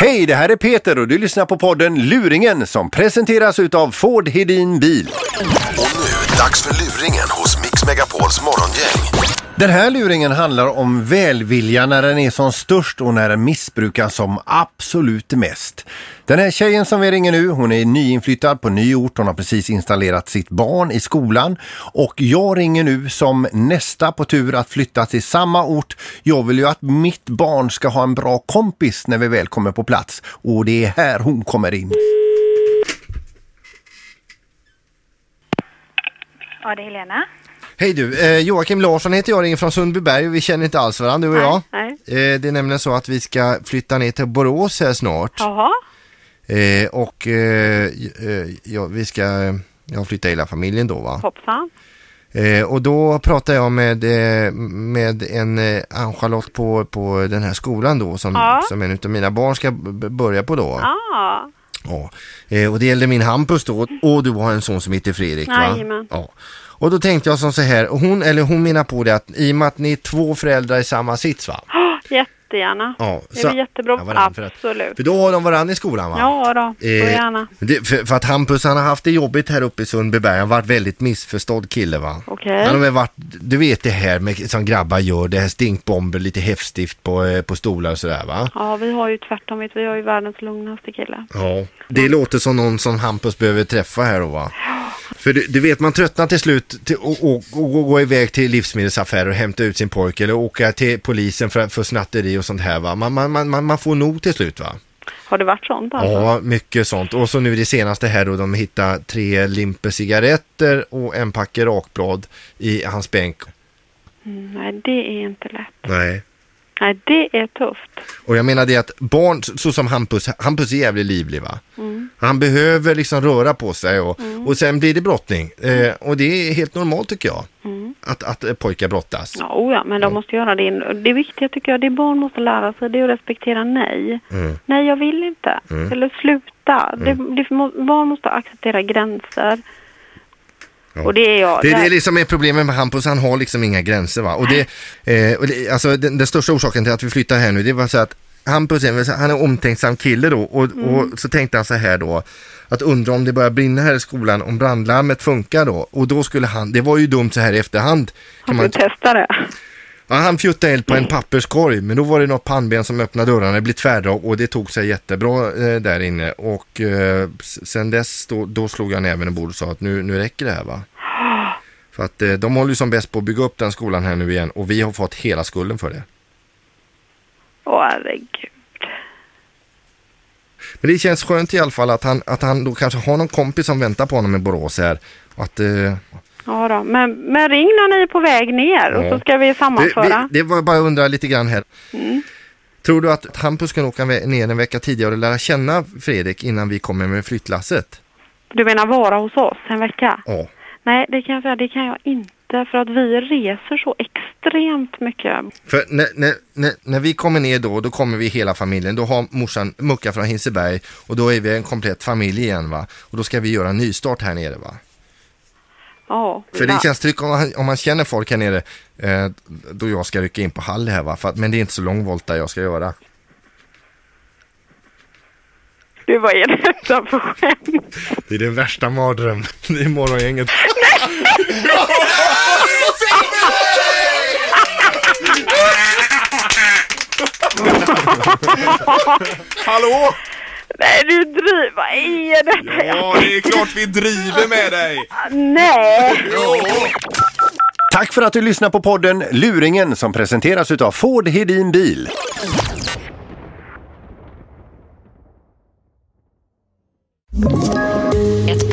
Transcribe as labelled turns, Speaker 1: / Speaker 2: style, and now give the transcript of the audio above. Speaker 1: Hej, det här är Peter och du lyssnar på podden Luringen som presenteras utav Ford Hedin Bil.
Speaker 2: Och nu, dags för luringen hos Mix Megapols morgongäng.
Speaker 1: Den här luringen handlar om välvilja när den är som störst och när den missbrukas som absolut mest. Den här tjejen som vi ringer nu, hon är nyinflyttad på ny ort, hon har precis installerat sitt barn i skolan och jag ringer nu som nästa på tur att flytta till samma ort. Jag vill ju att mitt barn ska ha en bra kompis när vi väl kommer på plats och det är här hon kommer in.
Speaker 3: Ja, det är Helena.
Speaker 4: Hej du, eh, Joakim Larsson heter jag, ringer från Sundbyberg och vi känner inte alls varandra du och jag.
Speaker 3: nej.
Speaker 4: Eh, det är nämligen så att vi ska flytta ner till Borås här snart.
Speaker 3: Jaha.
Speaker 4: Eh, och eh, j- eh, ja, vi ska, eh, jag flyttar hela familjen då va.
Speaker 3: Hoppsan.
Speaker 4: Eh, och då pratade jag med, eh, med en eh, Ann-Charlotte på, på den här skolan då som,
Speaker 3: Ja.
Speaker 4: som en av mina barn ska b- börja på då.
Speaker 3: Ja.
Speaker 4: Ja, eh, och det gällde min Hampus då och du har en son som heter Fredrik va?
Speaker 3: Jajamän.
Speaker 4: Ja. Och då tänkte jag som så här, och hon eller hon menar på det att i och med att ni är två föräldrar i samma sits va?
Speaker 3: Oh, jättegärna.
Speaker 4: Ja,
Speaker 3: det blir jättebra.
Speaker 4: Ja, varann för att-
Speaker 3: Absolut.
Speaker 4: För Eh. då har de varandra i skolan va?
Speaker 3: Ja då, så gärna.
Speaker 4: det, för, för att Hampus han har haft det jobbigt här uppe i Sundbyberg, han har varit väldigt missförstådd kille va?
Speaker 3: Okej.
Speaker 4: Han har väl varit, du vet det här med, som grabbar gör, det här stinkbomber, lite häftstift på, eh, på stolar och sådär va?
Speaker 3: Ja, vi har ju tvärtom. Vet, du, vi har ju världens lugnaste kille.
Speaker 4: Ja, det låter som någon som Hampus behöver träffa här då va? För du, du vet, man tröttnar till slut till, och, och, och, och går iväg till livsmedelsaffärer och hämta ut sin pojke eller åka till polisen för, för snatteri och sånt här va? Man, man, man- man, man får nog till slut va?
Speaker 3: Har det varit sånt alltså?
Speaker 4: Ja, mycket sånt. Och så nu det senaste här då, de hittar tre limper cigaretter och en packe rakblad i hans bänk.
Speaker 3: Mm, nej, det är inte lätt.
Speaker 4: Nej.
Speaker 3: Nej, det är tufft.
Speaker 4: Och jag menar det att barn, så så som Hampus, Hampus är jävligt livlig va? Han behöver liksom röra på sig och, och sen blir det brottning. Eh, och det är helt normalt tycker jag, att, att eh, pojkar brottas.
Speaker 3: Ja, oh ja, men de måste göra det. in- Det viktiga tycker jag, det barn måste lära sig, det är att respektera nej.
Speaker 4: Mm.
Speaker 3: Nej, jag vill inte. Eller sluta. Det, det, må- barn måste acceptera gränser.
Speaker 4: Ja.
Speaker 3: Och det är jag.
Speaker 4: Det, det
Speaker 3: Där-
Speaker 4: är liksom är problemet med Hampus, han har liksom inga gränser va. Och det, eh, och det, alltså den, den största orsaken till att vi flyttar här nu, det var så att Hampus är väl så- han är en omtänksam kille då och,
Speaker 3: Mm.
Speaker 4: och så tänkte han så här då, att undra om det börjar brinna här i skolan, om brandlarmet funkar då. Och då skulle han, det var ju dumt så här i efterhand. Kan
Speaker 3: Du
Speaker 4: man,
Speaker 3: testar det.
Speaker 4: Ja, han fjuttade eld på en papperskorg, men då var det något pannben som öppnade dörrarna, det blev tvärdrag och det tog sig jättebra eh, där inne. Och eh, s- sen dess då, då slog jag näven i bordet och sa att nu, nu räcker det här va. För att eh, de håller ju som bäst på att bygga upp den skolan här nu igen och vi har fått hela skulden för det.
Speaker 3: Åh, herregud.
Speaker 4: Men det känns skönt i alla fall att han, att han då kanske har någon kompis som väntar på honom i Borås här. Och att, eh,
Speaker 3: Ja då. Men, men ring när ni är på väg ner och
Speaker 4: Ja.
Speaker 3: så ska vi
Speaker 4: Det, vi,
Speaker 3: sammanföra.
Speaker 4: det var bara att undra lite grann här. Tror du att Hampus kan åka ve- ner en vecka tidigare och lära känna Fredrik innan vi kommer med flyttlasset?
Speaker 3: Du menar vara hos oss en vecka?
Speaker 4: Ja.
Speaker 3: Nej, det kan jag säga, det kan jag inte för att vi reser så extremt mycket.
Speaker 4: För när, när, när, när vi kommer ner då, då kommer vi hela familjen. Då har morsan Mucka från Hinseberg och då är vi en komplett familj igen va. Och då ska vi göra en nystart här nere va.
Speaker 3: Ja.
Speaker 4: För det känns tryggt om man, om man känner folk här nere eh, då jag ska rycka in på Hall här va. För att, men det är inte så lång volta jag ska göra.
Speaker 3: Du, vad är detta för skämt?
Speaker 4: Det är den värsta mardrömmen. Det är morgongänget.
Speaker 5: Hallå!
Speaker 3: Nej, du driver. Vad är detta?
Speaker 5: Ja, det är klart vi driver med dig!
Speaker 3: Nej.
Speaker 1: Tack för att du lyssnar på podden Luringen som presenteras utav Ford Hedin Bil.
Speaker 6: Ett